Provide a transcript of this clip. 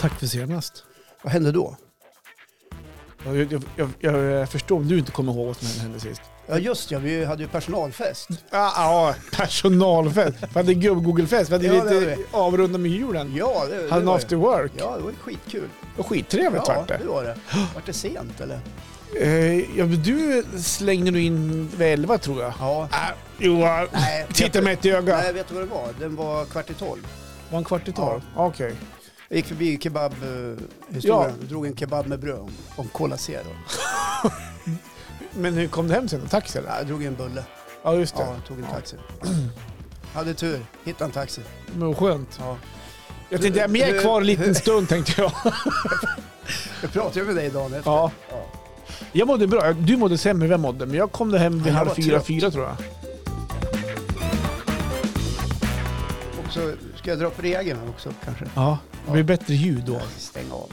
Tack för senast. Vad hände då? Jag, jag, jag, jag förstår om du inte kommer ihåg vad som hände sist. Ja just ja, vi hade ju personalfest. Ja, ja personalfest. Vi hade gubb-google-fest. Vi hade Ja, det lite hade vi. avrunda med julen. Ja, det, det Hade en var after ju. work. Ja, det var ju skitkul. Och skittrevligt ja, vart det. det var det. Vart det sent eller? Eh, ja, men du slängde nog in vid elva tror jag. Ja. Ah, Johan, Nej, vet titta du- mig ett i ögat. Nej, vet du vad det var? Den var kvart i tolv. Var en kvart i tolv? Okej. Jag gick förbi kebabhistorien, drog en kebab med bröd om, om Cola Zero. Men hur kom du hem sen? Taxi eller? Ja, Jag drog en bulle, Ja, just det. ja, tog en taxi. Hade tur, hittade en taxi. Men vad skönt. Ja. Jag tänkte, jag är med Hur- kvar en hur- liten stund tänkte jag. Jag pratade ju med dig dagen efter. Ja. Ja. Jag mådde bra. Du mådde sämre än jag mådde, men jag kom där hem Ja, vid jag halv var fyra, trött. fyra tror jag. Och så ska jag dra upp regeln här också kanske. Ja, det blir bättre ljud då. Stäng av.